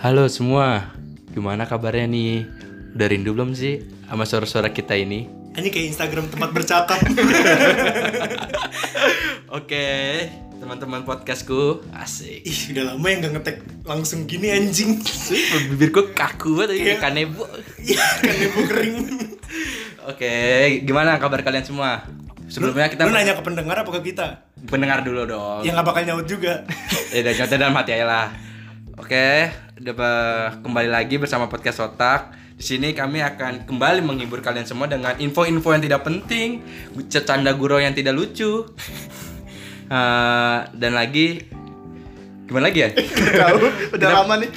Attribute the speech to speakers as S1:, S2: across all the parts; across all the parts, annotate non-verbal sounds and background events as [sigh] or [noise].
S1: Halo semua, gimana kabarnya nih? Udah rindu belum sih sama suara-suara kita ini?
S2: Ini kayak Instagram tempat [laughs] bercakap.
S1: Oke, teman-teman podcastku asik.
S2: Ih, udah lama ya nggak ngetek langsung gini anjing.
S1: Bibirku kaku banget
S2: Iya.
S1: kayak kanebo.
S2: Iya, kan ibu kering.
S1: Oke, gimana kabar kalian semua? Sebelumnya kita
S2: Lu nanya ke pendengar apa ke kita?
S1: pendengar dulu dong.
S2: Yang nggak bakal nyaut juga.
S1: ya dan nyata dalam hati aja lah oke dapat kembali lagi bersama podcast otak di sini kami akan kembali menghibur kalian semua dengan info-info yang tidak penting canda gurau yang tidak lucu [laughs] Eh, dan lagi gimana lagi ya
S2: Tahu, udah lama nih.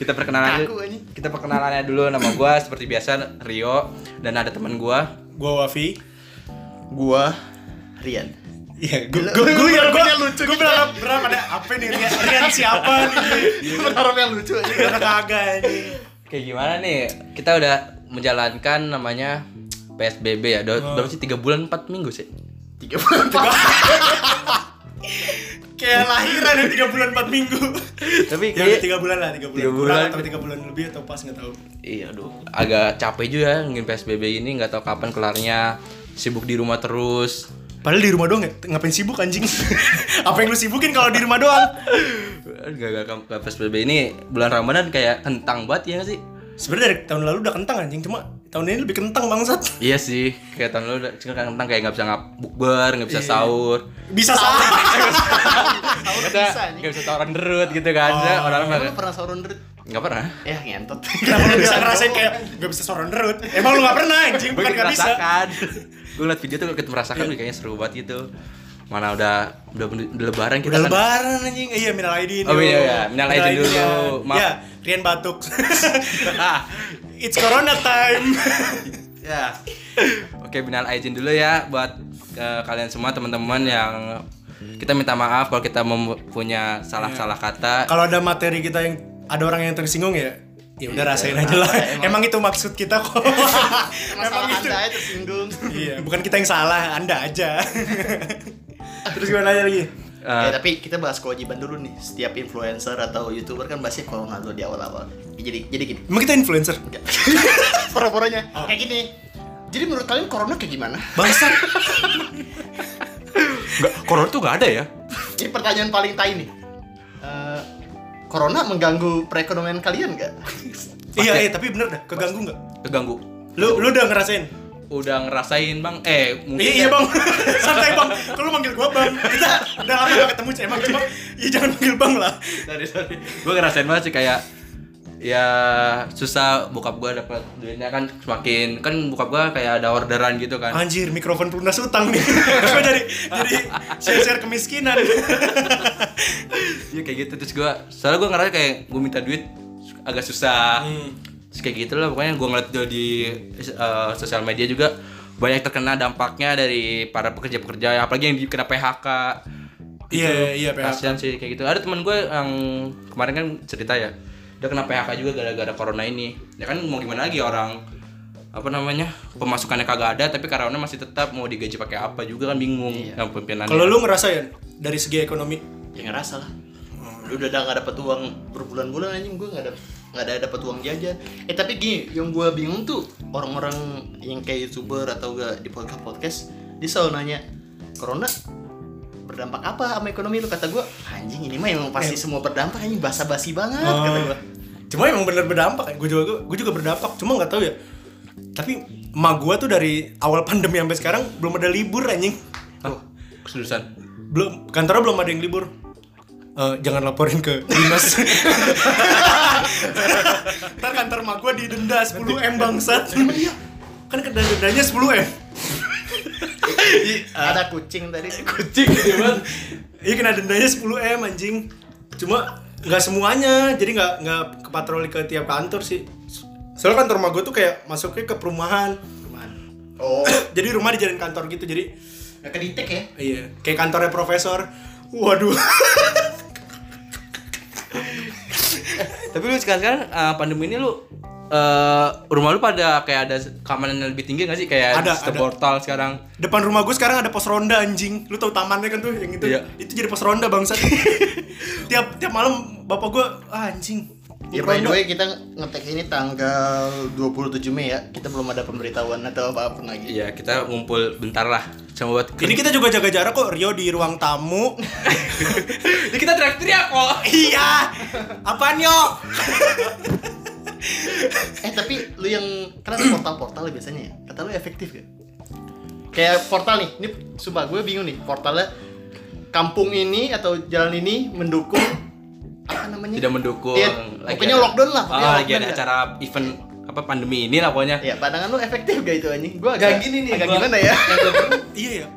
S1: kita perkenalan
S2: Kaku anjing.
S1: kita perkenalannya dulu nama gua seperti biasa Rio dan ada teman gua
S2: Gua Wafi.
S3: gua Rian
S2: Iya, gua gua gua yang gua lucu. gitu. Gua berharap berharap ada apa nih Rian, Rian siapa [laughs] nih?
S3: Iya. berharap yang lucu aja
S2: Karena kagak anjing.
S1: kayak gimana nih kita udah menjalankan namanya PSBB ya Udah- udah sih tiga bulan empat minggu sih
S3: tiga bulan
S2: Kayak lahiran ya 3 bulan 4 minggu.
S1: tapi
S2: Ya
S1: kayak-
S2: udah 3 bulan lah, 3 bulan.
S1: Tiga bulan.
S2: Kurang atau 3 bulan lebih atau pas nggak tahu.
S1: Iya, aduh, agak capek juga ya ngin PSBB ini nggak tahu kapan kelarnya. Sibuk di rumah terus.
S2: Padahal di rumah doang ya, ngapain sibuk anjing? [laughs] apa yang lu sibukin kalau di rumah doang?
S1: Gak, gak, gak PSBB ini bulan Ramadan kayak kentang banget ya nggak sih?
S2: Sebenarnya dari tahun lalu udah kentang anjing, cuma tahun ini lebih kentang bangsat.
S1: Iya sih, Iya. kayak tahun lalu udah- sekarang kentang kayak nggak bisa ngap bukber, nggak bisa sahur,
S2: Bisa salah.
S1: [laughs] nggak
S3: bisa,
S1: bisa,
S3: nih.
S1: nggak bisa tawuran derut gitu kan? Orang orang
S3: pernah sauron derut
S1: nggak pernah.
S3: ya ngentot
S2: Kenapa lu bisa ngerasain kayak gak bisa suara nerut? Emang lu gak pernah anjing,
S1: Gue
S2: bukan gak bisa.
S1: [laughs] merasakan. Gue liat video tuh gue merasakan kayaknya seru banget gitu. Mana udah udah, udah lebaran kita kan
S2: Udah lebaran anjing, Eh, iya minal aidin.
S1: Oh,
S2: yuk.
S1: iya, iya. Minal aidin dulu. Maaf.
S2: Iya, Rian
S1: [laughs]
S2: batuk. It's corona time.
S1: Ya. Oke, binal izin dulu ya buat eh, kalian semua teman-teman yang kita minta maaf kalau kita mempunyai salah-salah
S2: Iya.
S1: kata.
S2: kalau ada materi kita yang ada orang yang tersinggung ya, ya udah
S1: Iya,
S2: rasain aja lah. Emang itu maksud kita kok. [laughs]
S3: masalah anda ya tersinggung
S2: Iya, bukan kita yang salah, Anda aja. Terus gimana
S1: Eh,
S2: lagi?
S3: ya, tapi kita bahas kewajiban dulu nih setiap influencer atau youtuber kan bahasnya corona dulu di awal-awal Ya, jadi jadi gini [laughs]
S2: Emang kita influencer?
S3: pora-poranya kayak gini jadi menurut kalian corona kayak gimana [laughs]
S2: Bangsa.
S1: Nggak, corona tuh nggak ada ya?
S3: ini pertanyaan paling tai nih Eh, corona mengganggu perekonomian kalian gak
S2: iya, iya, tapi bener dah, keganggu nggak?
S1: Keganggu.
S2: Lu lu udah ngerasain?
S1: Udah ngerasain bang? Eh mungkin.
S2: Iya, iya bang, [laughs] santai bang. Kalau manggil gua bang, kita udah lama gak ketemu sih emang cuma, ya jangan manggil bang lah.
S1: Sorry sorry. Gue ngerasain banget sih kayak ya susah bokap gue dapat duitnya kan semakin kan bokap gue kayak ada orderan gitu kan.
S2: Anjir, mikrofon pelunas utang nih. [laughs] Gua jadi jadi share-share kemiskinan.
S1: Iya kayak gitu terus gue soalnya gue ngerasa kayak gue minta duit agak susah terus kayak gitu lah pokoknya gue ngeliat juga di eh, sosial media juga banyak terkena dampaknya dari para pekerja-pekerja apalagi yang kena PHK
S2: Iya, iya, iya, PHK.
S1: kasihan sih kayak gitu ada teman gue yang kemarin kan cerita ya dia kena PHK juga gara-gara corona ini ya kan mau gimana lagi orang apa namanya pemasukannya kagak ada tapi karyawannya masih tetap mau digaji pakai apa juga kan bingung yang pimpinannya
S2: Iya. Kalau lu ngerasain dari segi ekonomi,
S3: ya ngerasa lah lu udah gak dapet uang berbulan-bulan anjing gue gak dapet nggak ada dapat uang jajan eh tapi gini yang gue bingung tuh orang-orang yang kayak youtuber atau gak di podcast podcast dia selalu nanya corona berdampak apa sama ekonomi lu kata gue anjing ini mah emang pasti semua berdampak anjing basa-basi banget kata gue
S2: Eh, cuma emang bener berdampak ya gue juga gue juga berdampak cuma nggak tahu ya tapi emak gue tuh dari awal pandemi sampai sekarang belum ada libur anjing
S1: Hah? keseriusan
S2: belum kantornya belum ada yang libur Eh, jangan laporin ke dinas [laughs] ntar kantor emak gue didenda 10 m bangsat Iya. kan kena dendanya 10 m
S3: [laughs] ada kucing tadi
S2: kucing gitu banget iya kena dendanya 10 m anjing cuma nggak semuanya jadi nggak nggak ke patroli ke tiap kantor sih soalnya kantor emak gue tuh kayak masuknya ke perumahan
S3: oh
S2: jadi rumah dijadiin kantor gitu jadi
S3: gak keditek ya
S2: iya kayak kantornya profesor waduh
S1: Tapi lu sekarang sekarang pandemi ini lu eh rumah lu pada kayak ada keamanan yang lebih tinggi gak sih kayak
S2: Ada,
S1: sistem
S2: ada.
S1: portal sekarang?
S2: depan rumah gue sekarang ada pos ronda anjing lu tau tamannya kan tuh yang itu
S1: Iya.
S2: itu jadi pos ronda bangsa tiap tiap malam bapak gue ah, anjing
S3: Ya by the way kita ngetek ini tanggal 27 Mei ya. Kita belum ada pemberitahuan atau apa-apa lagi.
S1: Iya, kita ngumpul bentar lah. Cuma buat
S2: Ini kita juga jaga jarak kok Rio di ruang tamu.
S1: Ini kita teriak-teriak kok.
S2: iya. Apaan yo?
S3: Eh tapi lu yang kan ada portal-portal biasanya ya. Kata lu efektif gak? Kayak portal nih, ini sumpah gue bingung nih portalnya kampung ini atau jalan ini mendukung apa namanya?
S1: Tidak mendukung.
S3: Iya,
S1: Lagi
S3: pokoknya
S1: ada-
S3: lockdown lah,
S1: Oh,
S3: pokoknya
S1: lagi ada
S3: lockdown
S1: acara event apa pandemi ini lah pokoknya.
S3: Ya, pandangan lu efektif gak itu anjing? Gua
S1: Gak
S3: agak
S1: gini nih,
S3: agak
S1: gua-
S3: gimana ya?
S2: iya ya.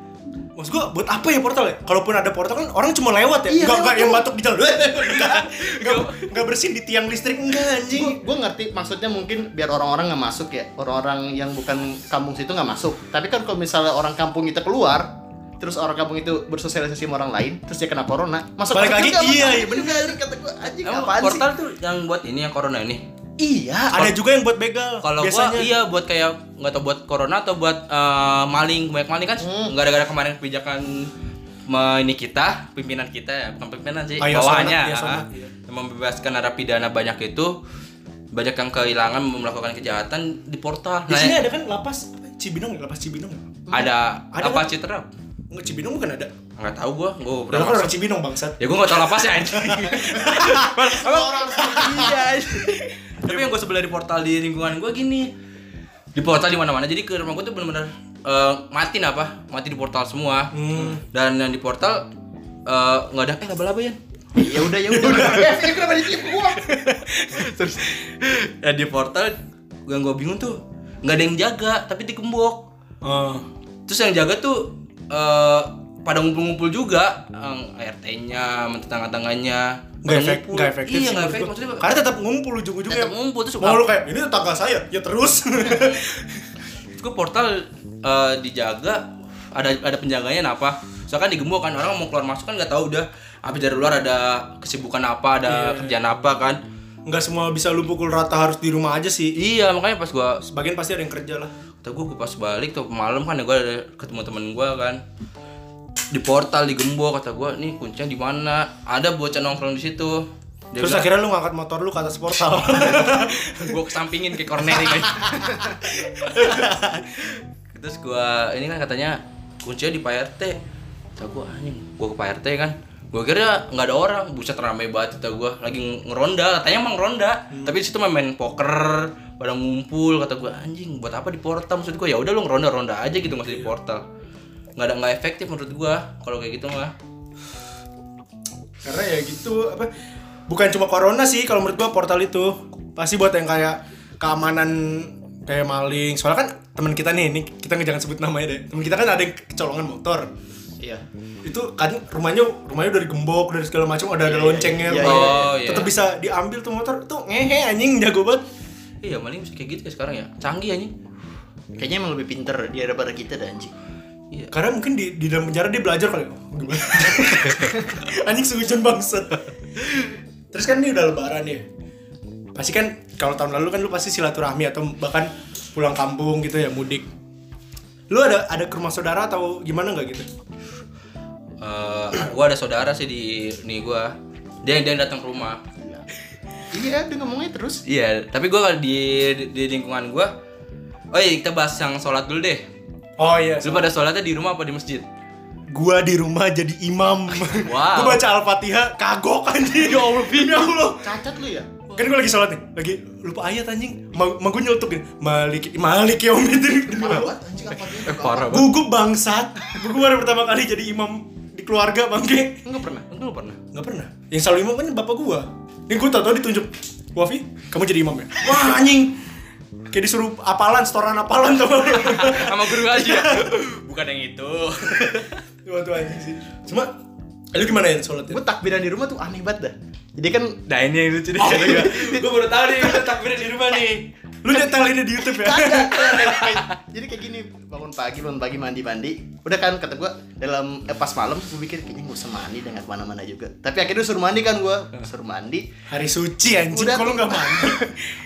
S2: Maksud gua buat apa ya portal ya? Kalaupun ada portal kan orang cuma lewat ya.
S3: Iya,
S2: Enggak
S3: lewat
S2: enggak yang
S3: doang.
S2: batuk di jalan. [laughs] Enggak. Enggak bersin di tiang listrik enggak anjing.
S3: gue ngerti maksudnya mungkin biar orang-orang nggak masuk ya orang-orang yang bukan kampung situ nggak masuk tapi kan kalau misalnya orang kampung itu keluar terus orang kampung itu bersosialisasi sama orang lain terus dia kena corona masuk
S2: Balik lagi, iya, iya,
S3: bener kata gue anjing
S1: Emang
S3: apaan
S1: portal
S3: sih
S1: tuh yang buat ini yang corona ini.
S3: iya
S2: Ada juga yang buat begal.
S1: Kalau gua
S2: biasanya
S1: iya buat kayak nggak tau buat corona atau buat eh, maling banyak maling kan
S3: Hmm.
S1: gara-gara kemarin kebijakan me- ini kita pimpinan kita ya bukan pimpinan sih
S2: Ah, iya,
S1: bawahannya
S2: Sonat, iya,
S1: ah,
S2: Sonat, iya.
S1: yang membebaskan narapidana banyak itu banyak yang kehilangan melakukan kejahatan di portal.
S2: Di sini
S1: Nah,
S2: ada kan lapas apa? Cibinong ya, lapas Cibinong. ya?
S1: ada
S2: Ada
S1: apa
S2: kan?
S1: citra?
S2: Enggak Cibinong bukan ada.
S1: Nggak tahu gua, gua
S2: Padahal
S1: pernah
S2: kan
S1: masuk.
S2: orang Cibinong bangsat.
S1: Ya gua nggak tahu lapasnya
S2: [laughs]
S1: anjing.
S3: orang
S1: Iya. Tapi yang gue sebelah di portal di lingkungan gue gini. Di portal di mana-mana. Jadi ke rumah gue tuh bener-bener eh, matiin apa? Mati di portal semua.
S2: Hmm.
S1: Dan yang di portal eh, nggak ada eh laba-laba ya.
S3: ya udah ya
S2: [laughs]
S3: udah ya ini kenapa ditiup gua
S1: Terus ya di portal yang gue bingung tuh nggak ada yang jaga tapi dikembok.
S2: Ah.
S1: Terus yang jaga tuh eh, pada ngumpul-ngumpul juga yang ART-nya, tetangga-tangganya.
S2: Gak
S1: pada
S2: efek,
S1: ngumpul.
S2: gak efektif
S1: Iya,
S2: sih
S1: nggak
S2: menurut
S1: efektif.
S2: gua.
S1: Maksudnya
S2: Karena tetap ngumpul ujung-ujungnya
S1: tetap ngumpul terus
S2: Mau lu kayak, ini tetangga saya, ya terus
S1: Gue portal eh, dijaga ada ada penjaganya apa? Soalnya kan digembok kan orang mau keluar masuk kan nggak tahu udah habis dari luar ada kesibukan apa, ada kerjaan apa kan.
S2: [laughs] Nggak semua bisa lu pukul rata harus di rumah aja sih
S1: Iya, makanya pas gua
S2: Sebagian pasti ada yang kerja lah
S1: Tuh gue pas balik tuh malam kan ya gue ada ketemu temen gue kan di portal digembok kata gue nih kuncinya di mana ada bocah nongkrong di situ dia
S2: Terus akhirnya lu ngangkat motor lu ke atas portal [laughs]
S1: gue kesampingin kayak cornering aja. terus gue ini kan katanya kuncinya di Pak RT kata gue anjing gue ke Pak RT kan gue kira nggak ada orang buset rame banget kata gue lagi ngeronda katanya emang ronda tapi di situ main, main poker pada ngumpul kata gue anjing buat apa di portal maksud gue ya udah lu ngeronda ronda aja gitu nggak usah di portal nggak ada nggak efektif menurut gue kalau kayak gitu mah
S2: Karena ya gitu, apa Bukan cuma corona sih kalau menurut gua portal itu Pasti buat yang kayak keamanan kayak maling Soalnya kan teman kita nih, ini kita jangan sebut namanya deh Temen kita kan ada yang kecolongan motor
S3: iya
S2: itu kan rumahnya rumahnya udah digembok dari segala macam ada ada
S3: Iya, iya,
S2: loncengnya
S3: iya,
S2: rumah.
S1: iya, iya, iya.
S2: tetap bisa diambil tuh motor tuh ngehe anjing jago banget
S1: iya maling mesti kayak gitu ya sekarang ya canggih anjing
S3: kayaknya emang lebih pinter dia daripada kita dah anjing
S1: iya
S2: karena mungkin di, di dalam penjara dia belajar kali oh, gimana? anjing sehujan bangsa terus kan ini udah lebaran ya pasti kan kalau tahun lalu kan lu pasti silaturahmi atau bahkan pulang kampung gitu ya mudik lu ada ada ke rumah saudara atau gimana nggak gitu
S1: Eh, gua ada saudara sih di nih gua. Dia dia yang datang ke rumah.
S3: iya dia ngomongnya terus
S1: Iya, tapi gua kalau di di lingkungan gua Oh iya, kita bahas yang sholat dulu deh.
S2: oh iya
S1: Lu pada sholatnya di rumah apa di masjid?
S2: gua di rumah jadi imam
S1: Wow.
S2: gua baca al-fatihah kagok anjing ya allah ya allah
S3: cacat lu ya
S2: kan gua lagi sholat nih lagi lupa ayat anjing ma, ma gua nyeletuk gini malik malik ya umidin
S3: Parah banget, anjing apa dia
S1: Eh, parah banget.
S2: gugup bangsat gua baru pertama kali jadi imam di keluarga bangke
S3: enggak pernah
S1: Lu pernah?
S2: nggak pernah yang selalu imam kan bapak gua ini gua tau-tau ditunjuk Wafi kamu jadi imam ya wah anjing kayak disuruh apalan setoran apalan tuh
S1: [laughs]
S2: [laughs]
S1: Sama guru aja. ya? [laughs] Bukan yang itu.
S2: cuma tuh anjing sih cuma lu gimana ya sholat
S3: gue takbiran di rumah tuh aneh banget dah jadi kan
S1: [laughs] Nah, ini yang lucu deh. gua baru tahu nih kita takbirnya di rumah nih.
S2: lu detail ini di YouTube ya
S3: [laughs] jadi kayak gini bangun pagi bangun pagi mandi mandi udah kan kata gua dalam eh, pas malam gue pikir kayaknya gue usah mandi dengan mana mana juga tapi akhirnya suruh mandi kan gua suruh mandi [laughs]
S2: hari suci anjing
S3: Udah
S2: kalau
S3: tuh.
S2: nggak mandi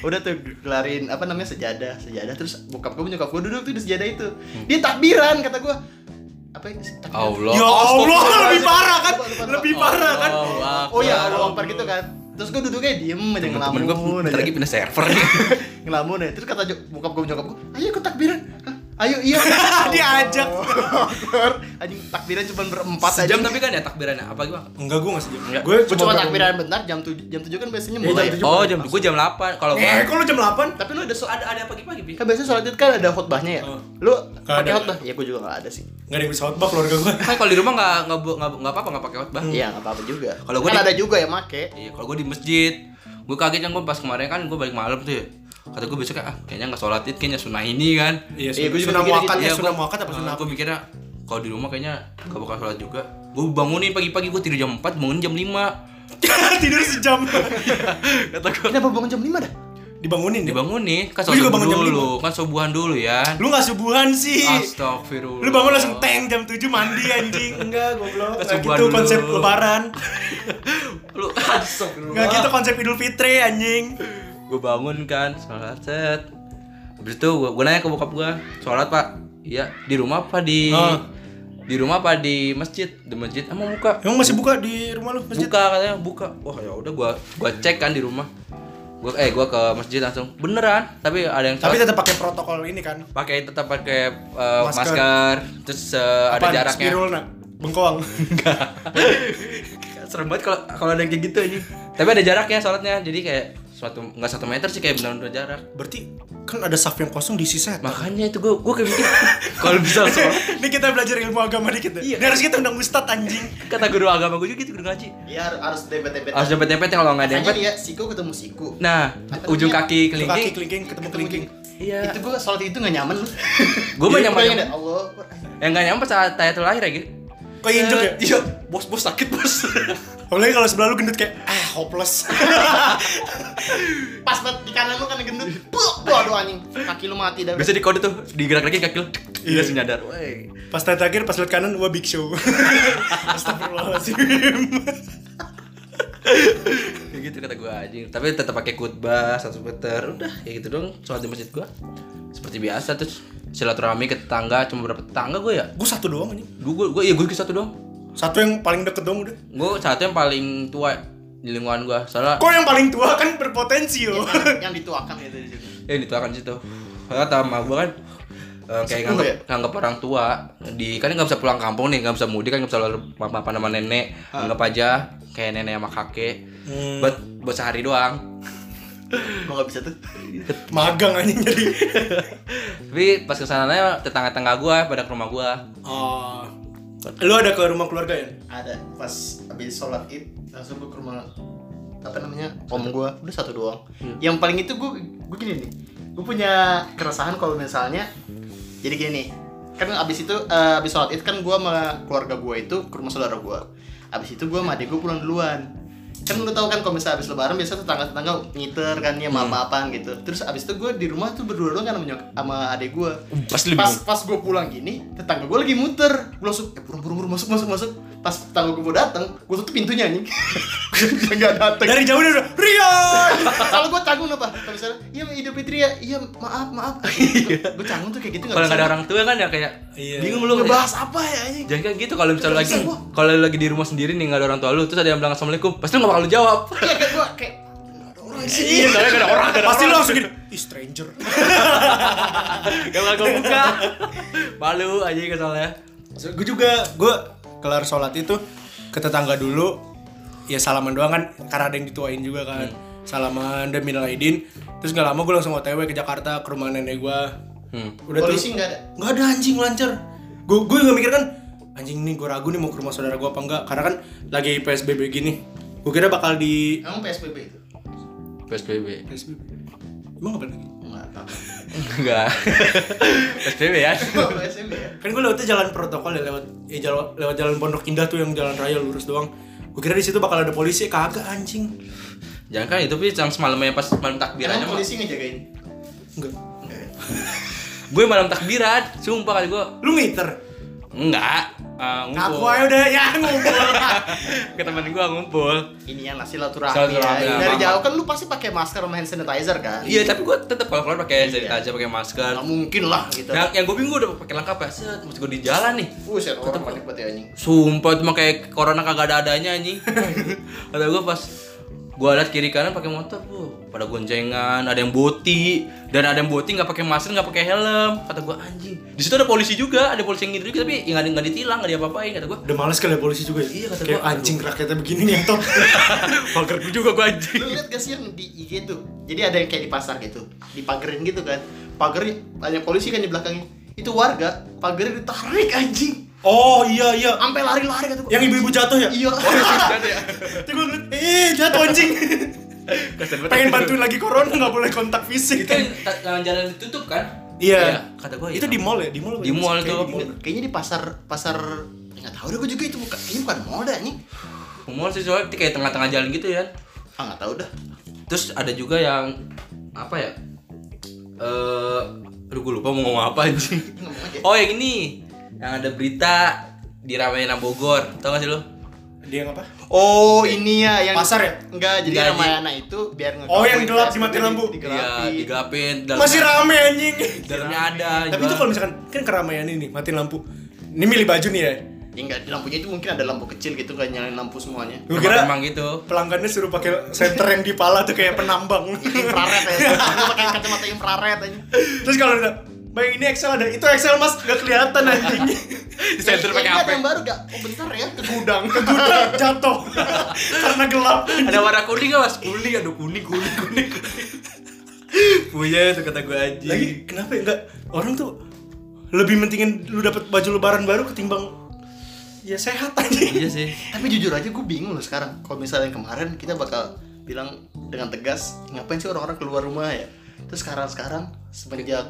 S3: udah tuh gelarin apa namanya sejadah sejadah terus bokap gue nyokap gue duduk tuh di sejadah itu
S2: Hmm.
S3: dia takbiran kata gua apa yang takbiran
S1: Allah.
S2: ya Allah Ya lebih parah kan
S3: Lupa, Oh iya, lupa, lupa.
S2: lebih parah kan
S1: Allah.
S3: oh ya Allah Akbar gitu kan terus gue duduknya diem aja
S1: Temen-temen gue
S3: ngelamun
S1: bentar lagi
S3: aja
S1: pindah server
S3: [laughs] ngelamun aja terus kata jo- bokap gue nyokap gue ayo ikut takbiran Hah? ayo iya
S2: Diajak.
S3: Akbar. anjing takbiran cuma berempat aja
S1: Sejam tapi kan ya takbirannya apa gimana?
S2: Enggak gue nggak sejam.
S1: Enggak.
S2: Gue
S3: Gua cuma
S2: berapa-
S3: takbiran bentar jam 7 jam 7 kan biasanya
S2: Iya,
S3: mulai
S2: jam
S1: Oh jam gue jam 8 kalau
S2: Eh,
S1: gue
S2: kok lu jam 8?
S3: tapi lu ada so
S1: ada ada pagi-pagi Pi.
S3: kan biasanya sholat id kan ada khotbahnya ya
S2: Oh.
S3: lu
S2: Nggak
S3: pakai
S2: ada.
S3: khotbah ya gue juga gak ada sih
S2: Enggak ada yang bisa khotbah keluarga gue.
S1: Kan kalau di rumah nggak nggak bu- nggak nggak apa-apa nggak pakai khotbah.
S3: iya gak apa-apa juga
S1: Kalau gua
S3: kan
S1: di-
S3: ada juga yang
S1: [laughs]
S3: make
S1: Iya, kalau gue di masjid, gue kaget yang gue pas kemarin kan gue balik malam tuh. ya. Kata gue besok ah kayaknya nggak sholat id, kayaknya sunah ini kan.
S2: Iya,
S3: Iya, gua juga
S2: sunnah
S3: mikir
S2: muakat
S3: gitu.
S2: ya,
S1: Iya,
S2: sunnah
S1: gua-
S2: muakat [laughs] apa
S1: eh, [laughs]
S2: sunnah
S1: Gua mikirnya kalau di rumah kayaknya gak bakal sholat juga. Gue bangunin pagi-pagi gue tidur jam 4, bangun jam 5.
S2: Tidur sejam. [laughs]
S1: Kata gue
S3: kenapa bangun jam 5 dah
S2: Dibangunin ya?
S1: dibangunin kan
S2: Gua juga
S1: sholat
S2: bangun jam
S1: dulu, kan subuhan dulu ya.
S2: Lu nggak subuhan sih.
S1: Astagfirullah.
S2: Lu bangun langsung tank jam 7 mandi anjing. Enggak, goblok. Enggak
S1: Kesubuhan
S2: gitu konsep
S1: dulu.
S2: lebaran.
S1: Lu [laughs] astagfirullah.
S2: Enggak gitu konsep Idul Fitri anjing.
S1: gue bangun kan sholat set habis itu gue nanya ke bokap gue sholat pak iya di rumah apa di
S2: Ah.
S1: di rumah apa di masjid di masjid emang buka
S2: Emang masih buka di rumah lu masjid?
S1: buka katanya buka wah ya udah gue gua cek kan di rumah gue eh gue ke masjid langsung beneran tapi ada yang
S2: Tapi
S1: sholat
S2: tetap pakai protokol ini kan.
S1: pakai tetap pakai eh,
S2: Masker.
S1: masker. terus eh, ada
S2: Apaan?
S1: jaraknya
S2: Spirulna. Bengkoang. [laughs]
S1: serem banget kalau kalau ada yang kayak gitu aja tapi ada jaraknya sholatnya jadi kayak suatu nggak satu meter sih kayak benar-benar jarak
S2: Berarti kan ada saf yang kosong diisi set.
S1: makanya itu gue gue kayak mikir [laughs] kalau bisa sholat
S2: [laughs] Ini kita belajar ilmu agama dikit deh.
S1: Iya.
S2: Ini harus kita undang ustadz anjing.
S1: kata guru agama gue juga gitu guru ngaji
S3: iya har- harus dempet-dempetan
S1: harus dempet dempet kalau nggak
S3: Makanya
S1: dempet
S3: nih ya siku ketemu siku
S1: nah
S3: Apa
S1: ujung
S3: namanya?
S1: kaki
S2: Kelingking. Gitu, Kaki
S1: kelingking
S2: kelingking ketemu kelingking. Iya,
S1: Iya.
S3: itu gue sholat itu gak nyaman
S1: Gua mah nyaman-
S3: ya Allah
S1: yang nggak nyampe saat tayatul akhir ya gitu
S2: Kok injek ya?
S1: iya bos bos sakit
S2: [laughs]
S1: bos
S2: Apalagi kalau sebelah lu gendut kayak ah [laughs] hopeless.
S3: pas banget di kanan lu kan gendut Puh, puh, aduh anjing kaki lu mati dah
S1: biasa di kode tuh digerak gerakin kaki lu
S2: Iya.
S1: iya langsung nyadar Wey.
S2: pas tadi terakhir pas lihat kanan wah big show. [laughs] Astagfirullahaladzim.
S1: kayak gitu kata gue anjing tapi tetap pakai khutbah satu meter udah kayak gitu dong sholat di masjid gue seperti biasa terus silaturahmi ke tetangga cuma berapa tetangga gue ya
S2: Gue satu doang anjing.
S1: gue gue gue- iya gue satu dong
S2: Satu yang paling deket dong udah.
S1: gue satu yang paling tua di lingkungan gue soalnya
S2: Kok yang paling tua kan berpotensi yo.
S3: yang dituakan gitu di situ
S1: ya dituakan situ karena sama gue kan eh, kayak
S3: Sepuh
S1: nganggep,
S3: ya?
S1: nganggep orang tua di kan nggak bisa pulang kampung nih nggak bisa mudik kan nggak bisa lalu apa apa nama nenek anggap aja kayak nenek sama kakek buat buat sehari doang
S3: Gua gak bisa tuh
S2: Magang anjing jadi.
S1: tapi pas kesananya tetangga tetangga gue pada ke rumah gue
S2: [laughs] Ah. Lu ada ke rumah keluarga ya?
S3: ada pas habis sholat id langsung gue ke rumah apa namanya om gue udah satu doang
S1: Iya.
S3: yang paling itu gue gue gini nih gue punya keresahan kalau misalnya jadi gini nih kan abis itu eh, abis sholat id kan gue sama keluarga gue itu ke rumah saudara gue abis itu gue sama adik gue pulang duluan kan lu tau kan kalau misalnya abis lebaran biasa tetangga-tetangga ngiter kan ya
S1: Hmm.
S3: maaf maafan gitu terus abis itu gue di rumah tuh berdua doang kan sama, nyok- sama adik gue
S1: Pasti lebih
S3: pas pas gue pulang gini tetangga gue lagi muter gue langsung eh buru buru buru masuk masuk masuk pas tetangga gue mau datang gue tutup pintunya anjing [laughs] dia nggak datang
S2: Dari jauh dia udah Rian.
S3: kalau gue canggung apa kalau misalnya iya Idul Fitri ya iya maaf maaf gue canggung tuh kayak gitu
S1: kalau nggak ada
S3: bisa.
S1: orang tua kan ya kayak
S2: Iya.
S1: bingung
S3: lu
S1: lu ya.
S3: ngebahas apa ya anjing
S1: jangan kayak gitu kalau misalnya lagi
S3: Bisa, gua.
S1: kalau lagi di rumah sendiri nih nggak ada orang tua lu terus ada yang bilang assalamualaikum pasti lu nggak bakal lu jawab
S3: iya kayak gue kayak nggak ada orang sih
S1: iya soalnya nggak ada orang nggak ada
S2: Pasti lu
S1: orang.
S2: langsung gini, "Ih, stranger."
S1: Gak bakal buka [laughs] Malu aja gitu soalnya
S2: gue juga gue kelar sholat itu ke tetangga dulu ya salaman doang kan karena ada yang dituain juga kan
S3: Hmm.
S2: salaman dan minal aidin terus gak lama gue langsung otw ke Jakarta ke rumah nenek gue
S1: Hmm.
S2: udah
S3: polisi
S2: tuh
S3: nggak ada
S2: nggak ada anjing lancar gue gue nggak mikir kan anjing nih gue ragu nih mau ke rumah saudara gue apa enggak karena kan lagi psbb gini gue kira bakal di
S3: emang PSBB itu
S1: PSBB
S2: psbb emang apa lagi
S3: nggak tahu
S1: [laughs] Enggak PSBB ya
S3: PSBB ya
S2: kan gue lewatnya jalan protokol ya lewat ya jalo- lewat jalan pondok indah tuh yang jalan raya lurus doang gue kira di situ bakal ada polisi kagak anjing
S1: Jangan kan itu Pi, yang semalamnya pas malam takbiran aja
S3: emang polisi ngejagain
S2: enggak
S1: Gue malam takbiran Sumpah kali gue
S2: lu ngiter
S1: Enggak Eh,
S2: Aku
S1: Ngumpul
S2: aja udah ya ngumpul.
S1: Ke temen gue ngumpul
S3: ini yang nasi silaturahmi
S1: Silaturahmi,
S3: ya. dari
S1: maaf.
S3: jauh kan lu pasti pakai masker sama hand sanitizer kan
S1: Iya tapi gue tetap kalau keluar pakai
S3: Iya.
S1: sanitizer pakai masker
S3: nggak mungkin lah gitu
S1: Yang, yang gue bingung gua udah pakai lengkap ya Set, Masih gue di jalan nih
S3: Buset, orang panik banget ya anjing.
S1: Sumpah cuma kayak corona kagak ada adanya anjing. Kata gue pas Gua lihat kiri kanan pakai motor, bu. Pada goncengan, ada yang boti dan ada yang boti nggak pakai masker, nggak pakai helm. Kata gua anjing. Di situ ada polisi juga, ada polisi yang ngintip tapi nggak ada nggak ditilang, nggak diapa-apain kata gua.
S2: Udah males kali ya polisi juga ya?
S1: Iya, kata
S2: Kayak
S1: gua,
S2: anjing rakyatnya begini
S1: [laughs]
S2: ngentot
S1: Pagar gua juga gua anjing.
S3: lu lihat gak sih yang di IG tuh jadi ada yang kayak di pasar gitu dipagerin gitu kan pagernya banyak polisi kan di belakangnya itu warga pagernya ditarik anjing
S2: Oh iya iya
S3: sampai lari-lari gitu
S2: Yang ibu-ibu jatuh ya?
S3: iya
S2: Itu gue ngeliat, eh jatuh anjing
S1: Kasian banget.
S2: Pengen bantuin lagi corona gak boleh kontak fisik
S1: Itu
S2: kan
S1: yang ta- jalan ditutup kan?
S2: Iya
S1: Kata gua. ya.
S2: Itu di mall ya? Di mall apa
S1: Di
S2: ya?
S1: mall
S2: Kayak
S1: tuh.
S2: di mall.
S3: kayaknya di pasar pasar ya nggak tahu deh gue juga itu bukan ini bukan moda nih
S1: Mall sih soalnya kayak tengah-tengah jalan gitu ya.
S3: ah nggak tahu dah
S1: Terus ada juga yang apa ya? Eh, aduh gue lupa mau ngomong apa anjing.
S3: ngomong aja
S1: Oh yang ini, yang ada berita di Ramayana Bogor, tau gak sih lo?
S2: Dia yang apa?
S3: oh ini ya yang
S2: Pasar ya?
S3: Enggak, jadi
S1: Nggak, di-
S3: Ramayana itu biar nggak
S2: Oh, yang
S3: gangguin
S2: gelap
S3: tes,
S2: dimatiin
S3: jadi
S2: lampu.
S3: digelapin.
S1: Iya, digapin. Dalam,
S2: Masih rame anjing
S1: dalamnya ada.
S2: Tapi
S1: Iya, jual-
S2: itu kalau misalkan, kan keramaian ini, matiin lampu Ini milih baju nih ya
S3: Ya enggak, di lampunya itu mungkin ada lampu kecil gitu kan nyalain lampu semuanya.
S2: Gue kira
S1: emang gitu.
S2: pelanggannya suruh pakai senter yang di pala tuh kayak
S1: [laughs]
S2: penambang
S3: Infrared ya. Lu pakai kacamata infrared aja.
S2: Terus kalau udah, Bang ini Excel ada, itu Excel mas, gak kelihatan
S1: [laughs]
S2: anjing
S1: Di center
S3: Ya,
S1: pakai
S3: ya,
S1: HP.
S3: ada Yang baru gak? Oh bentar ya, ke gudang.
S2: Udang, ke gudang, jatuh [laughs] Karena gelap
S1: Ada warna kuning gak mas?
S2: Iya.
S1: Kuning, aduh kuning, kuning, kuning. Punya itu kata gue anjing.
S2: Lagi kenapa ya enggak, orang tuh lebih mentingin lu dapat baju lebaran baru ketimbang ya sehat anjing
S1: Iya sih.
S3: Tapi jujur aja gue bingung loh sekarang. Kalau misalnya yang kemarin kita bakal bilang dengan tegas, ngapain sih orang-orang keluar rumah ya? Terus sekarang-sekarang semenjak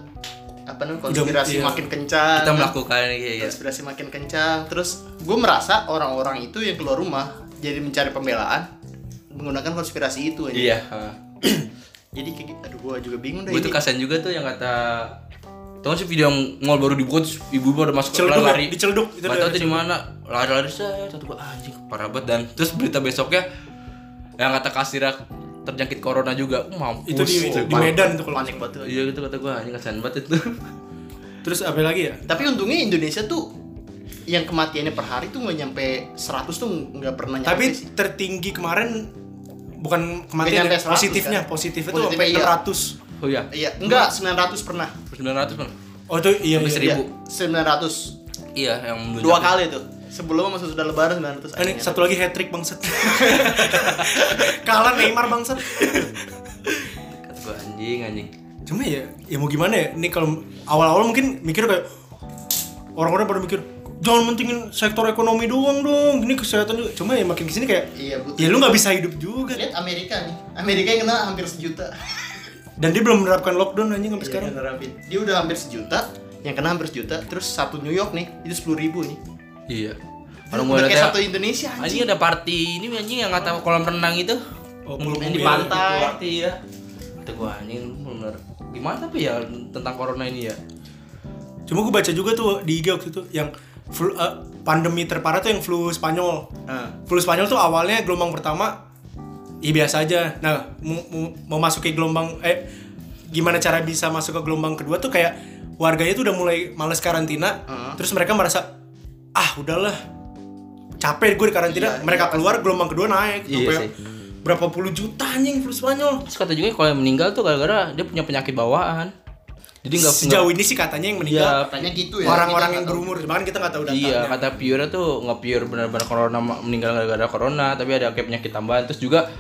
S3: apa namanya konspirasi
S2: iya.
S3: makin kencang.
S1: Kita melakukan iya iya.
S3: konspirasi makin kencang. Terus gue merasa orang-orang itu yang keluar rumah jadi mencari pembelaan menggunakan konspirasi itu aja.
S1: Iya.
S3: Jadi kayak gitu. aduh gue juga bingung deh.
S1: Gue tuh
S3: ini.
S1: kasian juga tuh yang kata Tau gak sih video yang mall baru dibuka terus ibu baru masuk
S2: Celduk ya?
S1: lari-lari
S2: [laughs] Dicelduk, itu
S1: Gak
S2: dia,
S1: tau tuh di mana lari-lari saya satu gua anjing parah banget dan terus berita besoknya yang kata kasir terjangkit corona juga Uh, mampus
S2: Itu di-
S1: Oh,
S2: di Medan tuh kalau
S3: panik banget. tuh.
S1: iya gitu kata gua anjing kasian banget itu [laughs]
S2: terus apa lagi ya
S3: Tapi untungnya Indonesia tuh yang kematiannya per hari tuh nggak nyampe 100 tuh nggak pernah nyampe.
S2: tapi
S3: sih.
S2: tertinggi kemarin bukan
S3: Nggak
S2: kematian
S3: nyampe
S2: ya,
S3: 100
S2: positifnya
S3: kan?
S2: positifnya tuh
S3: Positifnya
S2: sampai
S3: iya.
S2: 600
S1: oh iya
S3: iya, enggak 900 pernah.
S1: 900 bang
S2: oh itu iya
S1: Sampai
S2: iya.
S1: seribu.
S3: Iya, 900.
S1: iya yang melunjak.
S3: Dua kali tuh. Sebelum masuk sudah lebaran 900.
S2: Ah, Ini
S3: akhirnya.
S2: satu lagi hat trick bangsat. [laughs] Kalah Neymar bangsat.
S1: kata gua anjing anjing
S2: Cuma ya, ya mau gimana ya? Ini kalau awal-awal mungkin mikir kayak orang-orang pada mikir jangan mentingin sektor ekonomi doang dong. Ini kesehatan juga. Cuma ya makin kesini kayak
S3: Iya, betul. Iya.
S2: ya lu nggak bisa hidup juga.
S3: Lihat Amerika nih. Amerika yang kena hampir sejuta.
S2: Dan dia belum menerapkan lockdown anjing sampai
S3: Iya,
S2: sekarang.
S3: yang nerapin. Dia udah hampir sejuta, yang kena hampir sejuta. Terus satu New York nih, itu 10.000 ribu nih.
S1: iya
S3: Kalau
S1: kalau gua
S3: kayak
S1: lihat
S3: satu Indonesia
S1: anjing
S3: anjing.
S1: ada party ini anjing yang kata kolam renang itu Yang
S2: Oh, Iya,
S1: di
S2: pulung-pulung
S1: pantai
S3: gitu.
S1: party ya kata gua anjing bener gimana tapi ya tentang corona ini ya
S2: Cuma gue baca juga tuh di IG waktu itu yang flu- eh, pandemi terparah tuh yang flu Spanyol.
S1: Ah.
S3: Nah,
S2: Flu Spanyol tuh awalnya gelombang pertama ya biasa aja. Nah, mu- mu- mau memasuki gelombang eh gimana cara bisa masuk ke gelombang kedua tuh kayak warganya tuh udah mulai males karantina,
S3: Heeh.
S2: terus mereka merasa ah udahlah capek gue di karantina,
S3: Iya,
S2: mereka keluar gelombang kedua naik
S1: Iya
S2: sampai
S1: sih.
S2: berapa puluh juta anjing flu Spanyol.
S1: Terus kata juga kalau yang meninggal tuh gara-gara dia punya penyakit bawaan. Jadi nggak
S2: Sejauh ini sih katanya yang
S1: nggak-
S2: meninggal
S1: Iya,
S3: katanya gitu ya.
S2: orang-orang
S3: kita
S2: yang
S3: nggak tahu.
S2: berumur, bahkan kita nggak tahu datanya.
S1: Iya, kata Pure tuh nggak pure benar-benar corona ma- meninggal gara-gara corona, tapi ada kayak penyakit tambahan. Terus juga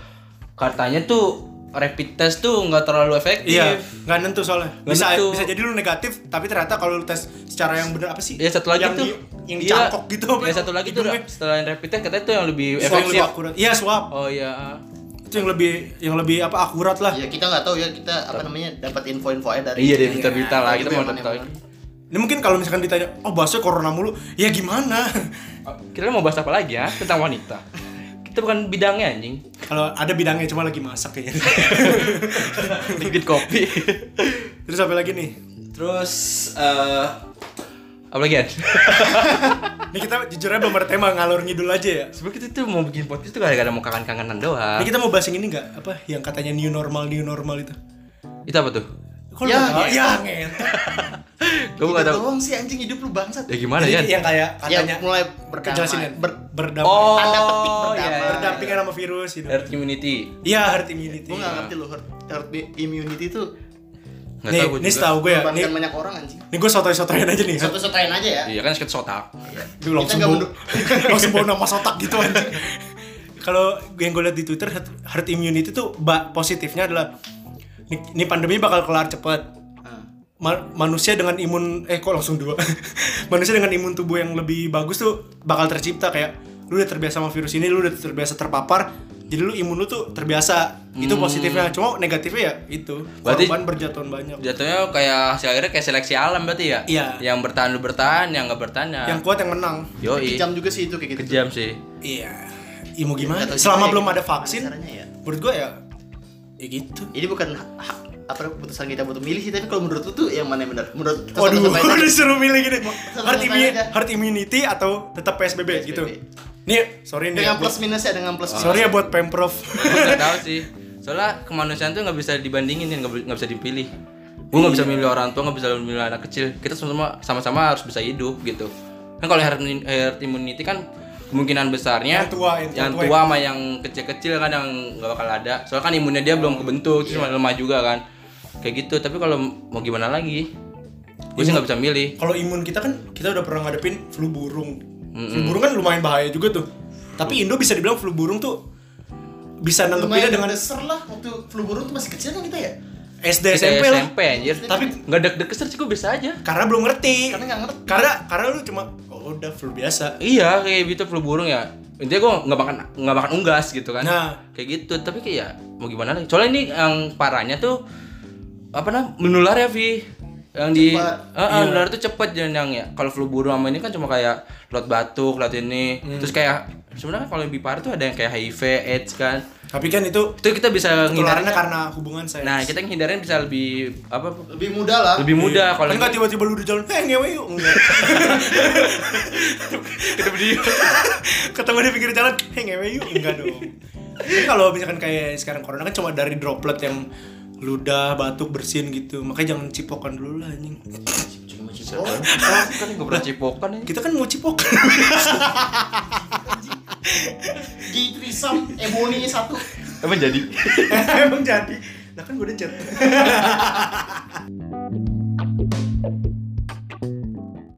S1: katanya tuh rapid test tuh nggak terlalu efektif.
S2: Iya, nggak nentu soalnya.
S1: Nggak
S2: bisa
S1: nentu.
S2: bisa jadi lu negatif, tapi ternyata kalau lu tes secara yang benar apa sih?
S1: Iya satu lagi
S2: yang
S1: tuh
S2: di- yang
S1: Iya.
S2: cangkok gitu. apa?
S1: Iya satu lagi tuh
S2: Hidungnya.
S1: setelah yang rapid test katanya tuh yang lebih
S2: Swab yang
S1: efektif.
S2: lebih akurat. Iya swab.
S1: Oh iya.
S2: Itu yang lebih yang lebih apa akurat lah.
S3: Ya kita nggak tahu ya kita apa namanya dapat info-info aja dari
S1: Iya, dari berita-berita lah, kita mau
S3: mana
S1: tahu.
S3: yang mana.
S2: Ini mungkin kalau misalkan ditanya, oh bahasnya corona mulu, ya gimana? [laughs]
S1: Kira mau bahas apa lagi ya tentang wanita? Kita bukan bidangnya anjing.
S2: kalau ada bidangnya cuma lagi masak kayaknya. [laughs]
S1: Bikin kopi.
S2: Terus apa lagi nih?
S1: Terus eh apa lagi An?
S2: Ini kita jujurnya belum ada tema ngalur ngidul aja ya.
S1: Sebenernya kita tuh mau bikin podcast tuh gara-gara mau kangen-kangenan
S2: Ini
S1: doang
S2: kita mau bahas yang ini nggak? Apa yang katanya new normal new normal itu?
S1: Itu apa tuh?
S2: Kok lu
S3: Ya,
S2: nggak tahu?
S3: ngetot.
S2: ya, ngetot.
S1: Gue gak
S3: Gitu
S1: tau.
S3: doang sih anjing hidup lu bangsat.
S1: Ya gimana
S2: Jadi
S1: ya?
S2: yang kayak
S3: Ya
S2: katanya
S3: mulai berdamai.
S2: kejelasin ya,
S3: Ber
S2: berdamai.
S1: Oh,
S3: Tanda petik
S1: ya,
S3: pertama.
S1: ya, ya.
S2: berdampingan sama virus gitu.
S1: Herd immunity.
S2: Iya, herd immunity.
S3: gue gak ngerti lu herd, herd immunity itu
S1: Nggak
S2: nih,
S1: tahu gua
S2: nih
S1: juga. kan
S2: setahu gue ya. Nih,
S3: membangkitkan banyak orang anjing.
S2: nih gue sotoy-sotoyan aja nih.
S3: Satu-satuin aja ya.
S1: Iya kan sakit sotak.
S2: Duh, langsung
S3: Kita nggak
S2: bawa, [laughs] langsung bawa nama sotak
S1: [laughs]
S2: gitu anjing. Kalau yang gue lihat di Twitter herd, herd immunity tuh ba- positifnya adalah ini- ini pandemi bakal kelar cepet.
S3: Ah.
S2: Ma- manusia dengan imun eh kok langsung dua [laughs] manusia dengan imun tubuh yang lebih bagus tuh bakal tercipta kayak lu udah terbiasa sama virus ini lu udah terbiasa terpapar jadi lu imun lu tuh terbiasa itu
S3: Hmm.
S2: positifnya cuma negatifnya ya itu
S1: Berarti-
S2: korban berjatuhan banyak
S1: Jatuhnya kayak hasil akhirnya kayak seleksi alam berarti ya?
S2: Iya.
S1: Yang bertahan lu bertahan, yang nggak bertahan ya.
S3: Nah.
S2: yang kuat yang menang
S1: Yoi.
S3: Kejam juga sih itu kayak gitu.
S1: Kejam sih.
S2: iya ya, mau gimana
S3: Nggak tahu
S2: selama
S3: juga
S2: belum
S3: ya,
S2: ada vaksin
S3: gimana caranya ya.
S2: menurut gue ya ya gitu
S3: Ini bukan hak- hak- apa keputusan kita butuh milih sih, tapi kalau menurut lu tuh yang mana yang benar? Menurut kita
S2: Waduh,
S3: sama-sama aja.
S2: [laughs] disuruh milih gini. Herd,
S3: sama-sama
S2: immu-
S3: aja.
S2: herd immunity atau tetap PSBB,
S3: PSBB.
S2: gitu. Nih, sorry nih. ya,
S3: dengan plus
S2: buat-
S3: minus ya dengan
S1: Ah.
S3: plus minus.
S2: sorry ya buat pemprov.
S1: Gua nggak tahu sih. Soalnya kemanusiaan tuh nggak bisa dibandingin, nggak bi- nggak bisa dipilih. Gue nggak bisa milih orang tua, nggak bisa milih anak kecil. Kita sama-sama sama-sama harus bisa hidup gitu. Kan kalau herd, immun- herd immunity kan kemungkinan besarnya
S2: Yang tua, yang tua,
S1: yang
S2: tua.
S1: tua sama yang kecil-kecil kan yang nggak bakal ada. Soalnya kan imunnya dia belum kebentuk, terus
S2: Iya.
S1: lemah juga kan. Kayak gitu. Tapi kalau mau gimana lagi? Gue
S2: Iya.
S1: sih nggak bisa milih.
S2: Kalau imun kita kan kita udah pernah ngadepin flu burung. Flu burung kan lumayan bahaya juga tuh. Tapi Indo bisa dibilang flu burung tuh bisa nanggepinnya
S3: lumayan
S2: dengan
S3: dengan dasar lah waktu flu burung tuh masih kecil kan kita ya
S2: SD
S1: Kita
S2: SMP lah.
S1: SMP anjir.
S2: Tapi
S1: nggak deg-deg sih gue biasa aja.
S2: karena belum ngerti.
S3: karena nggak ngerti
S2: Karena karena lu cuma oh udah flu biasa.
S1: Iya kayak gitu flu burung ya intinya gue nggak makan nggak makan unggas gitu kan
S2: Nah.
S1: kayak gitu tapi kayak ya, mau gimana lagi soalnya ini yang parahnya tuh apa namanya menular ya Vi yang di
S3: Cepat.
S1: Eh, eh, menular tuh cepet dan yang ya kalau flu burung sama ini kan cuma kayak lot batuk lot ini terus kayak sebenarnya kalau lebih parah tuh ada yang kayak HIV AIDS kan
S2: Tapi kan itu
S1: itu kita bisa
S2: penularannya
S1: nghindarin
S2: karena hubungan saya.
S1: nah kita nghindarin bisa lebih apa
S3: lebih muda lah
S1: lebih mudah kalau
S2: kalau enggak tiba-tiba lu di jalan, eh ngewe yuk. Enggak.
S1: ketemu dia
S2: [laughs] Ketemu di pinggir jalan, eh ngewe yuk. Enggak dong. Tapi kalau misalkan kayak sekarang corona kan cuma dari droplet yang ludah, batuk, bersin gitu. Makanya jangan cipokan dulu lah anjing.
S3: cuma Oh, cipol
S1: kan nggak pernah cipokan ya
S2: Kita kan mau cipokan. [laughs]
S3: di trisam ebony satu
S1: emang jadi
S2: Emang jadi. Nah kan gue udah chat.